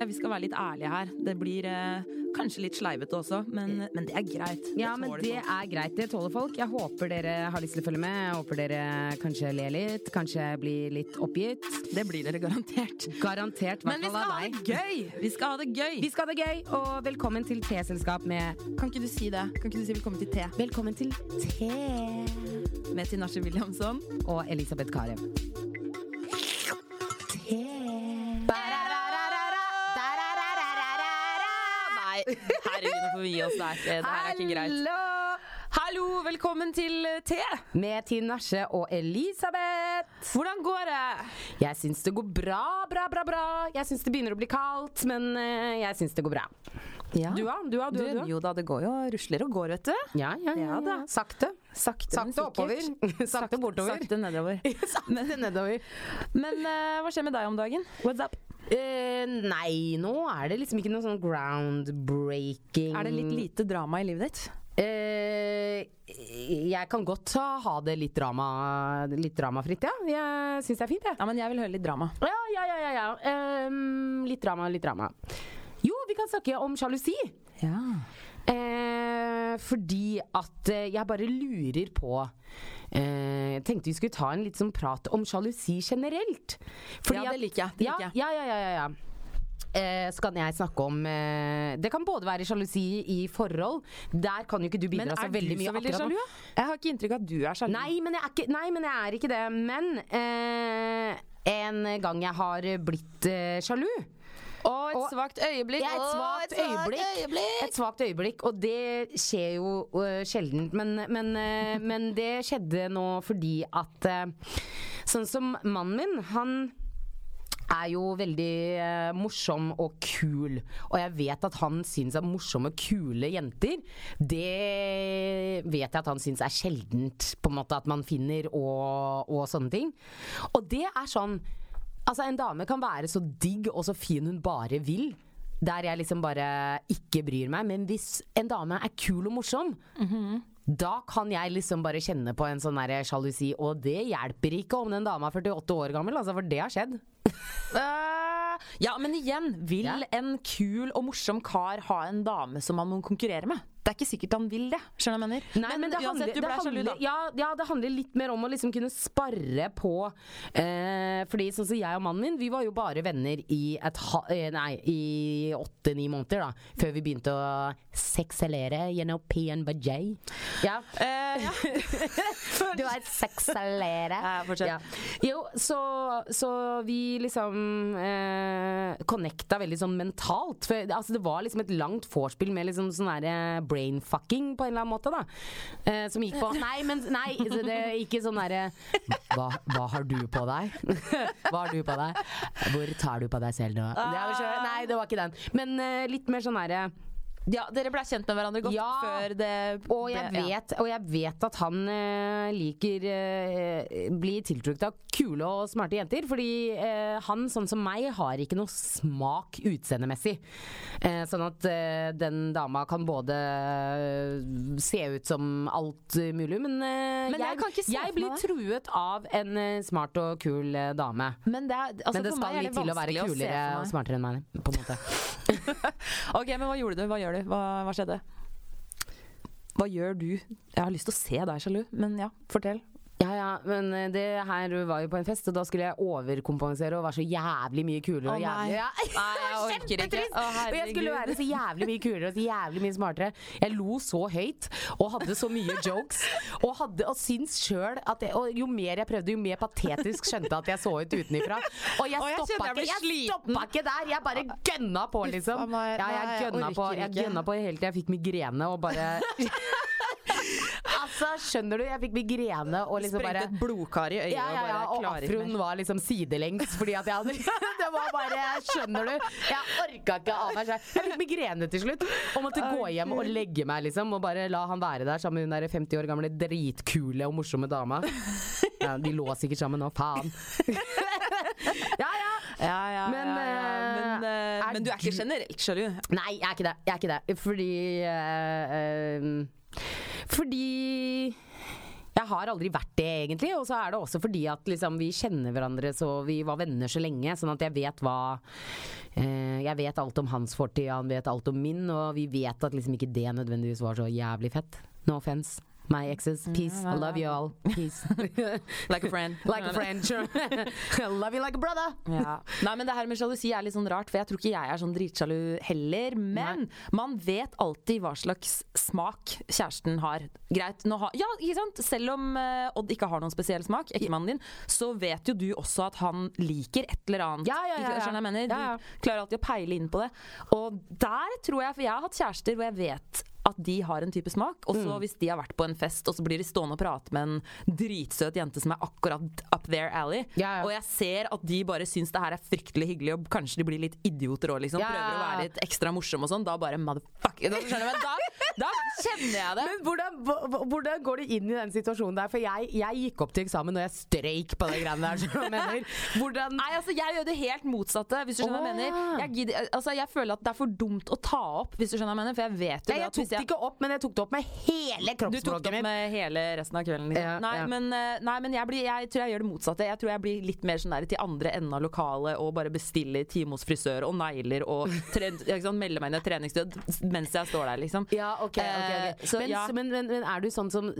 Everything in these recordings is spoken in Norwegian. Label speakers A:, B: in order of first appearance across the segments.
A: Ja, vi skal være litt ærlige her. Det blir eh, kanskje litt sleivete også, men, men det er greit.
B: Ja,
A: Det
B: men
A: tåler
B: det
A: folk.
B: er greit. Det tåler folk. Jeg håper dere har lyst til å følge med. Jeg håper dere kanskje ler litt, kanskje blir litt oppgitt.
A: det blir dere garantert.
B: Garantert, i
A: Men
B: hvert
A: vi skal
B: fall av
A: ha
B: deg.
A: det gøy! Vi skal ha det gøy!
B: Vi skal ha det gøy, og velkommen til T-selskap med
A: Kan ikke du si det? Kan ikke du si velkommen til te?
B: Velkommen til T
A: Med Tinashe Williamson.
B: og Elisabeth Carew.
A: Nei, herregud, nå får vi gi oss. Det er ikke, det her er ikke greit.
B: Hallo!
A: Hallo, velkommen til eh, te!
B: Med Tinashe og Elisabeth.
A: Hvordan går det?
B: Jeg syns det går bra, bra, bra. bra Jeg syns det begynner å bli kaldt, men eh, jeg syns det går bra.
C: Ja.
B: Du da? Du da? Du,
C: Du,
B: da, du, da?
C: jo da, det går jo rusler og går, vet du.
B: Ja, ja, ja,
C: Ja
B: ja.
C: da.
B: Sakte.
C: Sakte, men
B: Sakte
C: sikkert.
B: oppover. Sakte bortover.
C: Sakte nedover.
B: Sakte nedover.
C: Men eh, hva skjer med deg om dagen? What's up?
B: Eh, nei, nå er det liksom ikke noe sånn groundbreaking
C: Er det litt lite drama i livet ditt?
B: Eh, jeg kan godt ha ha det litt, drama, litt dramafritt, ja. Jeg syns det er fint, jeg.
C: Ja, men jeg vil høre litt drama.
B: Ja, ja, ja. ja, ja. Ehm, litt drama, litt drama. Jo, vi kan snakke om sjalusi.
C: Ja.
B: Eh, fordi at eh, jeg bare lurer på eh, Jeg tenkte vi skulle ta en litt sånn prat om sjalusi generelt.
C: Ja, det
B: at-
C: liker jeg, det
B: ja,
C: liker jeg.
B: Ja, ja, ja, ja, ja. Eh, så kan jeg snakke om eh, Det kan både være sjalusi i forhold. Der kan jo ikke du
C: Men
B: bidra så
C: er
B: veldig
C: du
B: mye
C: så veldig
B: akkurat nå.
C: sjalu? da? Jeg har ikke inntrykk av at du er sjalu.
B: Nei, men jeg er ikke, nei, men jeg er ikke det. Men eh, en gang jeg har blitt eh, sjalu.
C: Å, et
B: Og-
C: svakt øyeblikk.
B: Det er et
C: Å,
B: svakt øyeblikk. Et svakt øyeblikk, og det skjer jo uh, sjelden. Men, men, eh, men det skjedde nå fordi at eh, Sånn som mannen min, han er jo veldig eh, morsom og kul. Og jeg vet at han syns at morsomme, kule jenter Det vet jeg at han syns er sjeldent, på en måte, at man finner og, og sånne ting. Og det er sånn Altså, en dame kan være så digg og så fin hun bare vil. Der jeg liksom bare ikke bryr meg. Men hvis en dame er kul og morsom, da kan jeg liksom bare kjenne på en sånn der sjalusi. Og det hjelper ikke om den dama er 48 år gammel, altså, for det har skjedd.
C: Eh, ja, men igjen. Vil
B: Ja.
C: en kul og morsom kar ha en dame som han må konkurrere med? Det er ikke sikkert han vil det. Skjønner du hva jeg mener?
B: Nei, men det
C: uansett,
B: handler,
C: du
B: det
C: ble sjalu,
B: handler,
C: da.
B: ja, ja, det handler litt mer om å liksom kunne sparre på eh, Fordi sånn som jeg og mannen min, vi var jo bare venner i et ha, eh, Nei, i åtte-ni måneder, da. Før vi begynte å sexelere gjennom PNBJ. Ja.
C: Eh, ja.
B: Du er et sexelere.
C: Ja, fortsett.
B: Jo, så, så vi liksom eh, connecta veldig sånn mentalt. For, altså, det var liksom et langt vorspiel med liksom sånn derre brainfucking på en eller annen måte, da. Eh, som gikk på Nei, men nei, så det er ikke sånn derre hva, hva har du på deg? Hva har du på deg? Hvor tar du på deg selv nå? Det er vel så- nei, det var ikke den. Men eh, litt mer sånn derre
C: ja, dere ble kjent med hverandre godt
B: Ja.
C: før det
B: og jeg,
C: ble- ja.
B: vet, og jeg vet at han eh, liker eh, bli tiltrukket av kule og smarte jenter. Fordi eh, han, sånn som meg, har ikke noe smak utseendemessig. Eh, sånn at eh, den dama kan både eh, se ut som alt eh, mulig, men, eh,
C: Men jeg kan ikke se for
B: jeg blir
C: meg
B: truet av en eh, smart og kul eh, dame.
C: Men det, er, altså,
B: Men det
C: for meg
B: skal
C: er
B: litt til å være
C: vanskelig se
B: kulere
C: for
B: og
C: meg.
B: smartere enn meg, på en måte.
C: Ok, men hva gjorde du? Hva gjør du? Hva, hva skjedde? Hva gjør du? Jeg har lyst til å se deg sjalu, men ja, fortell.
B: Ja, ja, men eh, det her var jo på en fest, og da skulle jeg overkompensere og være så jævlig mye kulere
C: Å,
B: og
C: nei.
B: jævlig ja.
C: Nei, jeg orker ikke.
B: Kjempetrist!
C: Å,
B: og jeg skulle
C: herregud.
B: være så jævlig mye kulere og så jævlig mye smartere. Jeg lo så høyt og hadde så mye jokes og, hadde, og syns sjøl at jeg, Og jo mer jeg prøvde, jo mer patetisk skjønte jeg at jeg så ut utenifra. Og jeg
C: Å, jeg
B: stoppa
C: kjenner jeg
B: ikke,
C: blir
B: jeg stoppa ikke der! Jeg bare gønna på, liksom.
C: Uff, meg,
B: Ja, jeg
C: nei, jeg
B: gønna på,
C: orker
B: jeg
C: ikke.
B: gønna på helt til jeg fikk migrene og bare Altså, skjønner du? Jeg fikk migrene og liksom bare
C: Sprengte et blodkar i øyet
B: ja, ja, ja,
C: og
B: og
C: bare klarer ikke
B: afroen
C: mer.
B: var liksom sidelengs fordi at jeg hadde Det var bare Skjønner du? Jeg orka ikke av meg sjøl. Jeg fikk migrene til slutt og måtte gå hjem og legge meg, liksom. Og bare la han være der sammen med hun der 50 år gamle dritkule og morsomme dama. Ja, de lå sikkert sammen nå, faen. Ja, ja.
C: Ja, ja,
B: Men,
C: ja, ja. Men,
B: eh,
C: eh,
B: er
C: men du er ikke
B: du-
C: generelt sjalu?
B: Nei, jeg er ikke det. Jeg er ikke det. Fordi eh, eh, Fordi jeg har aldri vært det, egentlig. Og så er det også fordi at liksom, vi kjenner hverandre så vi var venner så lenge, sånn at jeg vet hva eh, Jeg vet alt om hans fortid, han vet alt om min, og vi vet at liksom ikke det nødvendigvis var så jævlig fett. No offense. My exes, peace, I love you all, peace.
C: Mm, Like a friend.
B: like a friend, sure. I love you like a brother.
C: Ja. Nei, men det her med sjalusi er litt sånn rart, for jeg tror ikke jeg er sånn dritsjalu heller. Men man vet alltid hva slags smak kjæresten har. Greit, nå har Ja, ikke sant? Selv om eh, Odd ikke har noen spesiell smak, ektemannen din, så vet jo du også at han liker et eller annet.
B: Ja, ja, ja,
C: Ikke-
B: ja.
C: Skjønner jeg mener?
B: Ja, ja.
C: Du klarer alltid å peile inn på det. Og der tror jeg For jeg har hatt kjærester hvor jeg vet at de har en type smak. Og
B: Mm.
C: så hvis de har vært på en fest, og så blir de stående og prate med en dritsøt jente som er akkurat up their alley.
B: Ja, ja.
C: Og jeg ser at de bare syns det her er fryktelig hyggelig, og kanskje de blir litt idioter òg, liksom.
B: Ja.
C: Prøver å være litt ekstra morsom og sånn. Da bare motherfucker da, skjønner du, men da, da kjenner jeg det.
B: Men hvordan, hva- hva- hvordan går du inn i den situasjonen der? For jeg, jeg gikk opp til eksamen og jeg strøyk på de greiene der. Så jeg mener, hvordan
C: Nei, altså Jeg gjør det helt motsatte. Hvis du skjønner hva jeg
B: Å,
C: mener
B: ja.
C: jeg, gidder, altså, jeg føler at det er for dumt å ta opp, hvis du skjønner hva jeg mener. For jeg vet jo det
B: Nei, jeg
C: at
B: tok
C: hvis
B: det
C: jeg
B: ikke opp, men jeg tok det opp med hele
C: Du tok det
B: kroppsspråket
C: opp
B: mitt.
C: med hele resten av kvelden. Liksom.
B: Ja,
C: nei,
B: ja.
C: Men, eh, nei, men jeg, blir, jeg tror jeg gjør det motsatte. Jeg tror jeg blir litt mer sånn der til andre enden av lokalet og bare bestiller time hos frisør og negler og tre, ikke sant, melder meg inn i et treningsstudio mens jeg står der, liksom.
B: Ja, ok. ok, ok.
C: Eh, så
B: men,
C: ja.
B: men, men, men er du sånn som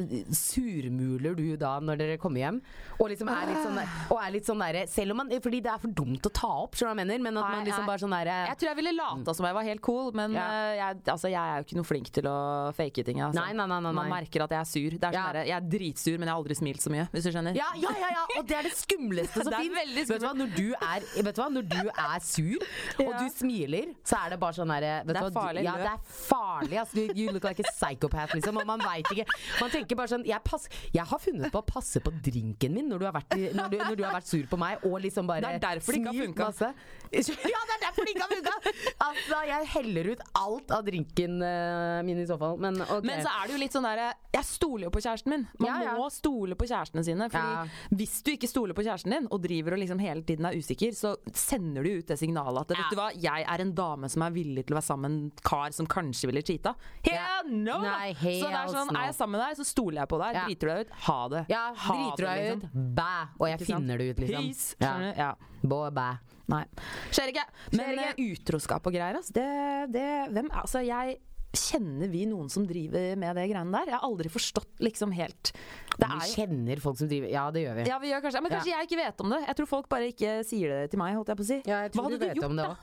B: surmuler du da når dere kommer hjem? Og liksom er litt sånn, der, og er litt sånn derre Selv om man Fordi det er for dumt å ta opp, skjønner du hva jeg mener? Men at
C: Nei,
B: man liksom
C: nei.
B: bare sånn derre
C: Jeg tror jeg ville lata som jeg var helt cool, men
B: Mm. Ja.
C: eh, jeg, altså, jeg er jo ikke noe flink til å fake ting. Altså.
B: Nei, nei, nei, nei,
C: Man
B: nei.
C: merker at jeg er sur. Det er sånn
B: Ja.
C: der, jeg er dritsur, men jeg har aldri smilt så mye, hvis du skjønner.
B: ja, ja, ja, ja, og det er det skumleste som
C: Det er
B: finnes.
C: veldig
B: Vet du hva, når du er, vet du hva, når du er sur, og du smiler, så er det bare sånn derre vet
C: Det er
B: du hva, du-
C: farlig,
B: Ja,
C: løp.
B: det er farlig. ass. Du- you look like a psychopath, liksom. Og man veit ikke Man tenker bare sånn jeg, pass, jeg har funnet på å passe på drinken min når du har vært, i- når du, når du har vært sur på meg, og liksom bare
C: Det er derfor det ikke har
B: smilt
C: funka.
B: masse. Ja, det er derfor det ikke har funka! Altså, jeg heller ut alt av drinken eh, min i så fall, men OK.
C: Men så er det jo litt sånn der Jeg stoler jo på kjæresten min. Man
B: Eh. Ja, ja.
C: må stole på kjærestene sine.
B: Ja.
C: Fordi hvis du ikke stoler på kjæresten din, og driver og liksom hele tiden er usikker, så sender du ut det signalet at
B: Ja.
C: vet du hva, jeg er en dame som er villig til å være sammen med en kar som kanskje ville cheata. Hell
B: Ja.
C: no! da!
B: Nei,
C: så det
B: hells
C: er sånn,
B: no.
C: er jeg sammen med deg, så stoler jeg på deg.
B: Ja.
C: Driter du deg ut, ha det.
B: ja,
C: Ha
B: driter du
C: det,
B: deg
C: liksom.
B: ut, bæ, og jeg
C: Ikke sant?
B: finner det ut, liksom.
C: His,
B: Ja.
C: skjønner du? Ja.
B: Bå, bæ.
C: Nei. Skjer ikke. Men
B: Skjer ikke.
C: eh, utroskap og greier, altså. Det, det, hvem, altså jeg Kjenner vi noen som driver med det greiene der? Jeg har aldri forstått liksom helt Det er
B: vi
C: jo
B: kjenner folk som driver Ja, det gjør vi.
C: ja, vi gjør kanskje, men kanskje jeg ikke vet om det. Jeg tror folk bare ikke sier det til meg. holdt jeg på å si. Hva hadde du, gjort da?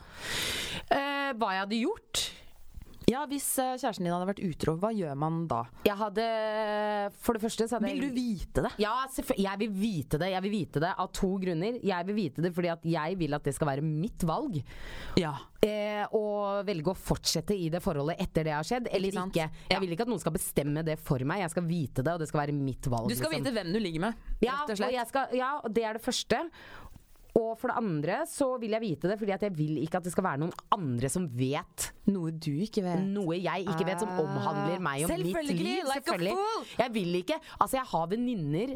B: Eh, hva jeg hadde gjort?
C: Ja, Hvis eh, kjæresten din hadde vært utro, hva gjør man da?
B: Jeg hadde For det første så hadde
C: Vil du
B: jeg
C: vite det?
B: ja, selvfølgelig. Jeg vil vite det Jeg vil vite det av to grunner. Jeg vil vite det fordi at jeg vil at det skal være mitt valg.
C: Ja.
B: Eh, og velge å fortsette i det forholdet etter det har skjedd, eller
C: Ikke sant?
B: ikke.
C: Ja.
B: Jeg vil ikke at noen skal bestemme det for meg. Jeg skal vite det, og det skal være mitt valg.
C: Du skal
B: liksom.
C: vite hvem du ligger med,
B: Ja,
C: rett og
B: og,
C: slett.
B: jeg skal, ja, og det er det første. Og for det andre så vil jeg vite det, fordi at jeg vil ikke at det skal være noen andre som vet
C: Noe du ikke vet.
B: noe jeg ikke vet som omhandler meg og mitt
C: Ah, Selvfølgelig,
B: liv.
C: like a fool!
B: Jeg vil ikke Altså, jeg har venninner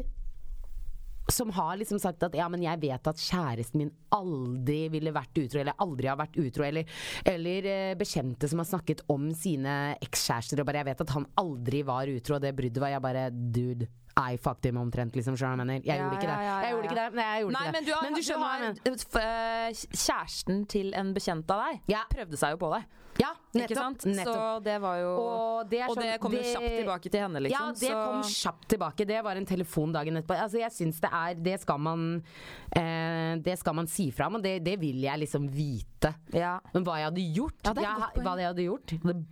B: som har liksom sagt at ja, men jeg vet at kjæresten min aldri ville vært utro, eller aldri har vært utro, eller, eller eh, bekjente som har snakket om sine ekskjærester og bare jeg vet at han aldri var utro, og det bruddet var jeg bare dude. I fucked him omtrent, liksom. Skjønner du hva jeg mener? Jeg
C: Ja,
B: gjorde ikke det.
C: ja, ja,
B: Jeg
C: ja,
B: gjorde ikke
C: ja.
B: det. Nei, jeg gjorde
C: Nei,
B: ikke det.
C: men du har, du
B: skjønner hva
C: har
B: jeg mener.
C: f- eh, kjæresten til en bekjent av deg
B: Ja.
C: prøvde seg jo på deg.
B: Ja,
C: ikke
B: nettopp.
C: sant?
B: nettopp.
C: Så det var jo
B: Og det er
C: og
B: sånn-
C: det kom jo
B: det-
C: kjapt tilbake til henne, liksom.
B: Ja, det kom kjapt tilbake. Det var en telefon dagen etterpå. Altså, jeg syns det er Det skal man eh, Det skal man si fra om, og det, det vil jeg liksom vite.
C: ja.
B: Men hva jeg hadde gjort?
C: Ja, det er et
B: jeg,
C: godt poeng.
B: hva jeg hadde gjort? Det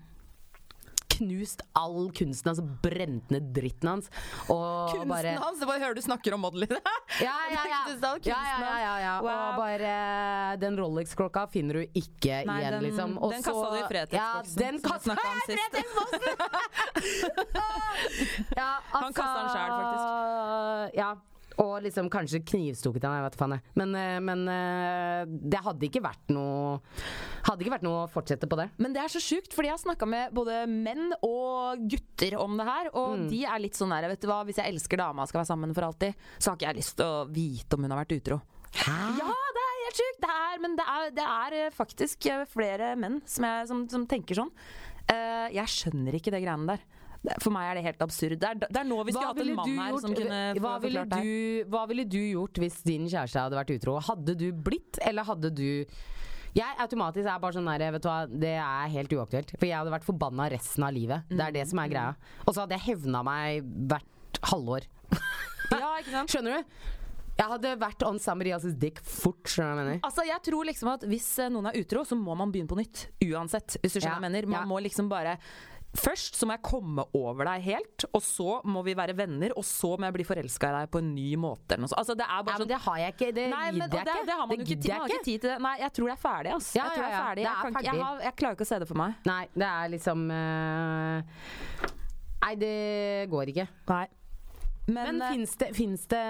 B: knust all kunsten hans, og brent ned dritten hans. Og
C: Kunsten
B: bare
C: hans! Det var, hører du snakker om modeller.
B: ja, ja, ja.
C: Knust all kunsten
B: ja, ja, ja, ja, ja.
C: Wow.
B: Og bare Den Rolex-klokka finner du ikke
C: Nei,
B: igjen,
C: den-
B: liksom.
C: den kasta du i Fretex-boksen,
B: Ja, den
C: som vi
B: kasta
C: snakket om
B: jeg i
C: sist.
B: Fretex-boksen! ja, altså,
C: Han kasta den selv,
B: faktisk. Ja. Og liksom kanskje knivstukket han, jeg vet faen jeg. Men, eh, men eh, det hadde ikke vært noe Hadde ikke vært noe å fortsette på det.
C: Men det er så sjukt, fordi jeg har snakka med både menn og gutter om det her. Og
B: Mm.
C: de er litt sånn der, vet du hva, hvis jeg elsker dama og skal være sammen for alltid, så har ikke jeg lyst til å vite om hun har vært utro.
B: Hæ?
C: Ja, det er helt sjukt! Det er, men det er, det er eh, faktisk eh, flere menn som, jeg, som, som tenker sånn. Eh, jeg skjønner ikke det greiene der. Det- For meg er det helt absurd. Det er, det er nå vi skulle
B: Hva
C: hatt en
B: ville
C: mann
B: du
C: her som
B: gjort-
C: kunne
B: hva
C: få-
B: ville
C: forklart det.
B: du, hva ville du gjort hvis din kjæreste hadde vært utro? Hadde du blitt, eller hadde du Jeg automatisk er bare sånn der, vet du hva, det er helt uaktuelt. For jeg hadde vært forbanna resten av livet. Det
C: Mm.
B: er det som er greia. Og så hadde jeg hevna meg hvert halvår.
C: Ja, ikke sant?
B: Skjønner du? Jeg hadde vært on somebody else's dick fort, skjønner du hva jeg mener?
C: Altså, jeg tror liksom at Hvis eh, noen er utro, så må man begynne på nytt. Uansett. hvis du skjønner
B: Ja,
C: hva jeg mener. Man
B: ja.
C: må liksom bare Først så må jeg komme over deg helt, og så må vi være venner. Og så må jeg bli forelska i deg på en ny måte. Eller noe sånt. Altså, det er
B: Nei,
C: bare
B: men det har jeg ikke. Det
C: sånn Nei, men, og
B: gidder jeg
C: det,
B: ikke.
C: det har man jo ikke, tid-
B: gidder
C: man har
B: jeg
C: ikke
B: ikke.
C: tid til. det. Nei, jeg tror det er ferdig, ass.
B: Ja,
C: jeg tror
B: ja,
C: det er
B: ja.
C: ferdig. Jeg,
B: Det er
C: kan, ikke-
B: ferdig.
C: Jeg, har, jeg klarer ikke å se det for meg.
B: Nei, det er liksom eh, Nei, det går ikke.
C: Nei. Men,
B: Men,
C: eh,
B: finnes det, finnes det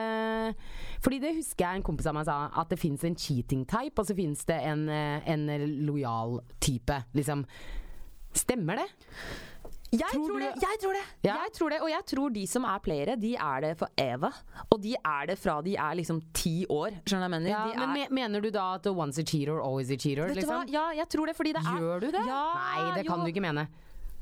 B: Fordi det husker jeg en kompis av meg sa, at det finnes en cheating type, og så finnes det en, eh, en lojal type, liksom. Stemmer det?
C: Jeg
B: Tror
C: tror,
B: du-
C: det, jeg tror det!
B: Ja.
C: Jeg tror det, Og jeg tror de som er playere, de er det for Eva. Og de er det fra de er liksom ti år. Skjønner du hva jeg mener? de er,
B: men me- mener du da at once a cheater, always a cheater?
C: Vet du hva?
B: Liksom?
C: Ja, jeg tror det, fordi det er
B: Gjør du det?
C: Ja,
B: Nei, det kan
C: jo.
B: du ikke mene.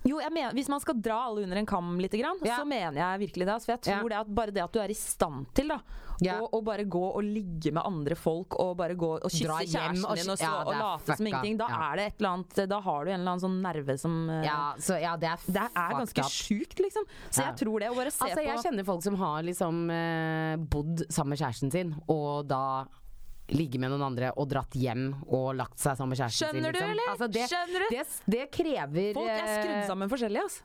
C: Jo, jeg mener, Hvis man skal dra alle under en kam, litt, grann,
B: Ja.
C: så mener jeg virkelig det. altså, For jeg tror
B: Ja.
C: det at bare det at du er i stand til da,
B: Ja.
C: å, å bare gå og ligge med andre folk og bare gå og kysse
B: Dra hjem
C: kjæresten
B: og
C: din og, så,
B: ky- ja,
C: og
B: det er
C: late som
B: fucka.
C: ingenting, da,
B: Ja.
C: er det et eller annet, da har du en eller annen sånn nerve som eh,
B: Ja, så ja, det er,
C: Det er
B: fucked
C: ganske
B: up.
C: sjukt, liksom. Så
B: Ja.
C: jeg tror det. Å bare se
B: Altså, jeg
C: på
B: kjenner folk som har liksom eh, bodd sammen med kjæresten sin, og da ligge med noen andre og dratt hjem og lagt seg sammen med kjæresten
C: Skjønner
B: sin.
C: du,
B: liksom.
C: eller?
B: Altså, det,
C: Skjønner du?
B: Det, det krever
C: Folk er skrudd
B: eh,
C: sammen forskjellig, altså.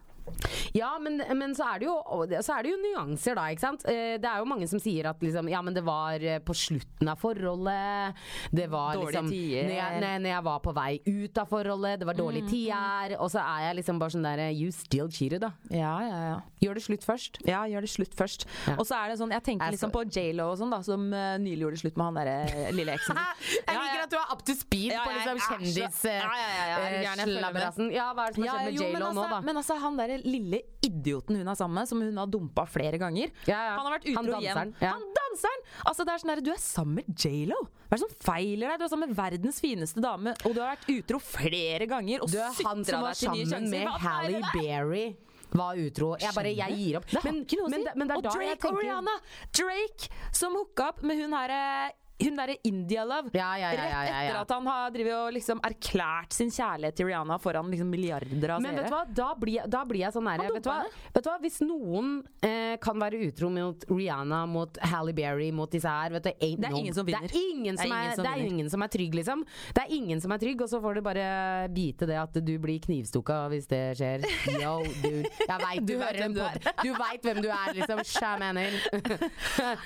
B: Ja, men, men så, er det jo, så er det jo nyanser, da. ikke sant? Eh, Det er jo mange som sier at liksom, ja, men det var eh, på slutten av forholdet. Det var
C: Dårlige
B: liksom
C: tider. Mm.
B: Når jeg, når, når jeg var på vei ut av forholdet, det var dårlige tider. Og så er jeg liksom bare sånn der eh, You still cheated, da.
C: Ja, ja, ja.
B: Gjør det slutt først.
C: Ja, gjør det slutt først.
B: Ja.
C: Og så er det sånn, jeg tenker
B: Jeg
C: liksom
B: så-
C: på J.Lo og sånn, da, som eh, nylig gjorde slutt med han derre eh, lille eksen.
B: Jeg liker at du er up to speed
C: Ja,
B: på
C: jeg er
B: liksom
C: så-
B: kjendis...
C: Ja, ja, ja, ja, er du gæren?
B: eh,
C: Jeg følger med.
B: slabberassen. Ja, hva er det som
C: Ja,
B: har skjedd
C: jo, men
B: med J.Lo nå,
C: altså,
B: da?
C: Men altså, han derre lille idioten hun er sammen med, som hun har dumpa flere ganger
B: Ja, ja.
C: Han har vært
B: Han
C: utro igjen.
B: danseren, ja.
C: Han danseren! Altså, det er sånn der, Du er sammen med J.Lo! Hva er det som feiler deg? Du er sammen med verdens fineste dame, og du har vært utro flere ganger. Og
B: Du, han
C: sutret
B: som var
C: deg til nye
B: sammen
C: sjanser.
B: med
C: Hva feiler
B: Halle
C: deg?
B: Berry, var utro. Jeg bare, jeg gir opp.
C: Det har ikke noe å
B: men,
C: si.
B: det- men det er
C: og
B: da
C: Drake
B: jeg tenker
C: og Rihanna! Drake som hooka opp med hun herre hun derre India-love.
B: Ja, ja, ja, ja,
C: Rett
B: ja,
C: etter
B: ja.
C: at han har drivet og liksom erklært sin kjærlighet til Rihanna foran liksom milliarder av
B: Men vet du hva, da blir, da blir jeg sånn nære.
C: Han
B: Vet, du hva?
C: dumpa
B: vet du hva, hvis noen eh, kan være utro mot Rihanna, mot Halle Berry, mot disse her vet du, ain't
C: Det er
B: no-
C: ingen som vinner.
B: Det er ingen som, er, det er
C: vinner.
B: ingen som er trygg, liksom. Det er ingen som er trygg, og så får du bare bite det at du blir knivstukka hvis det skjer. Yo, dude. Jeg veit du,
C: Du vet
B: hører
C: hvem
B: en
C: du
B: pod. Du veit hvem du er, liksom. Shamaner.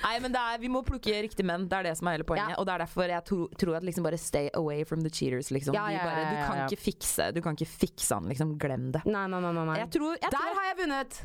C: Nei, men det er, Vi må plukke riktige menn. Det er det som er hele poenget.
B: Ja.
C: Og det er derfor jeg tro, tror at liksom bare stay away from the cheaters. liksom.
B: Ja,
C: De
B: ja, ja,
C: bare, du
B: ja,
C: kan
B: ja.
C: ikke fikse Du kan ikke fikse han, liksom. Glem det.
B: Nei, nei, nei. nei, nei.
C: Jeg tror, jeg
B: Der
C: tror,
B: har jeg vunnet!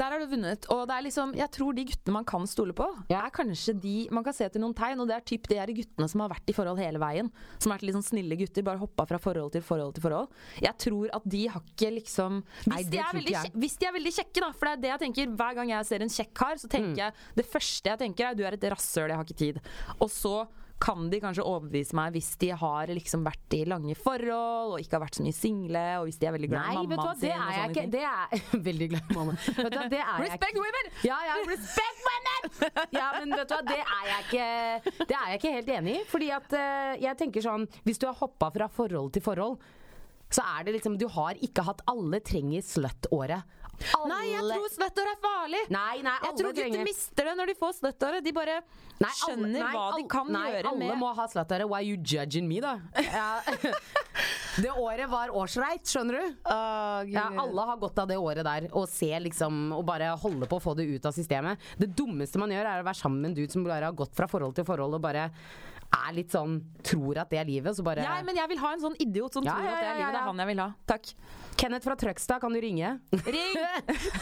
C: der har du vunnet. Og det er liksom, jeg tror de guttene man kan stole på,
B: Ja.
C: er kanskje de Man kan se etter noen tegn, og det er typ de her guttene som har vært i forhold hele veien. Som har vært litt sånn snille gutter, bare hoppa fra forhold til forhold til forhold. Jeg tror at de har ikke liksom Hvis,
B: Nei, det
C: de, er
B: tror ikke
C: veldig,
B: jeg.
C: kje- hvis de er veldig kjekke, da. For det er det jeg tenker hver gang jeg ser en kjekk kar, så
B: Mm.
C: tenker jeg Det første jeg tenker er du er et rasshøl, jeg har ikke tid. Og så kan de kanskje overbevise meg hvis de har liksom vært i lange forhold og ikke har vært så mye single, og hvis de er veldig glad i
B: Nei, vet du hva,
C: mammaen sin.
B: det er jeg
C: og sånne
B: ikke.
C: ting.
B: Det er Veldig glad i mamma. Vet du hva, det er jeg ikke.
C: Respect women!
B: Ja, ja, respect women! Ja, men vet du hva, det er jeg ikke, det er jeg ikke helt enig i. Fordi at eh, jeg tenker sånn, hvis du har hoppa fra forhold til forhold, så er det liksom Du har ikke hatt Alle trenger slutt-året. Alle
C: Nei, jeg tror sweater er farlig!
B: Nei, nei,
C: Jeg
B: alle
C: tror gutter
B: trenger
C: mister det når de får støttere. De bare
B: Nei, alle-
C: skjønner
B: nei,
C: hva de
B: alle-
C: kan
B: nei,
C: gjøre
B: alle
C: med
B: må ha slutt-året. Why you judging me, da? Ja. Det året var årsreit, skjønner du? Ja, alle har godt av det året der, og se liksom Og bare holde på å få det ut av systemet. Det dummeste man gjør, er å være sammen med en dude som bare har gått fra forhold til forhold og bare er litt sånn Tror at det er livet, så bare
C: Nei, men jeg vil ha en sånn idiot som
B: Ja,
C: tror
B: ja,
C: at det er
B: ja, ja,
C: livet. Det
B: ja.
C: er han jeg vil ha. Takk.
B: Kenneth fra Trøgstad, kan du ringe?
C: Ring!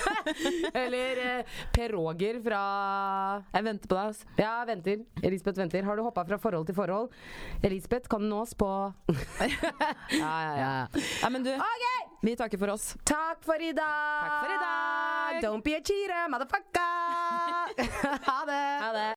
B: Eller eh, Per Roger fra
C: Jeg venter på deg. ass.
B: Ja, venter. Elisabeth venter. Har du hoppa fra forhold til forhold? Elisabeth kan nås på
C: Ja, ja, ja. Nei, men du, vi takker for oss.
B: Takk for i dag!
C: Takk for i dag!
B: Don't be a cheater, motherfucker! ha det!
C: Ha det.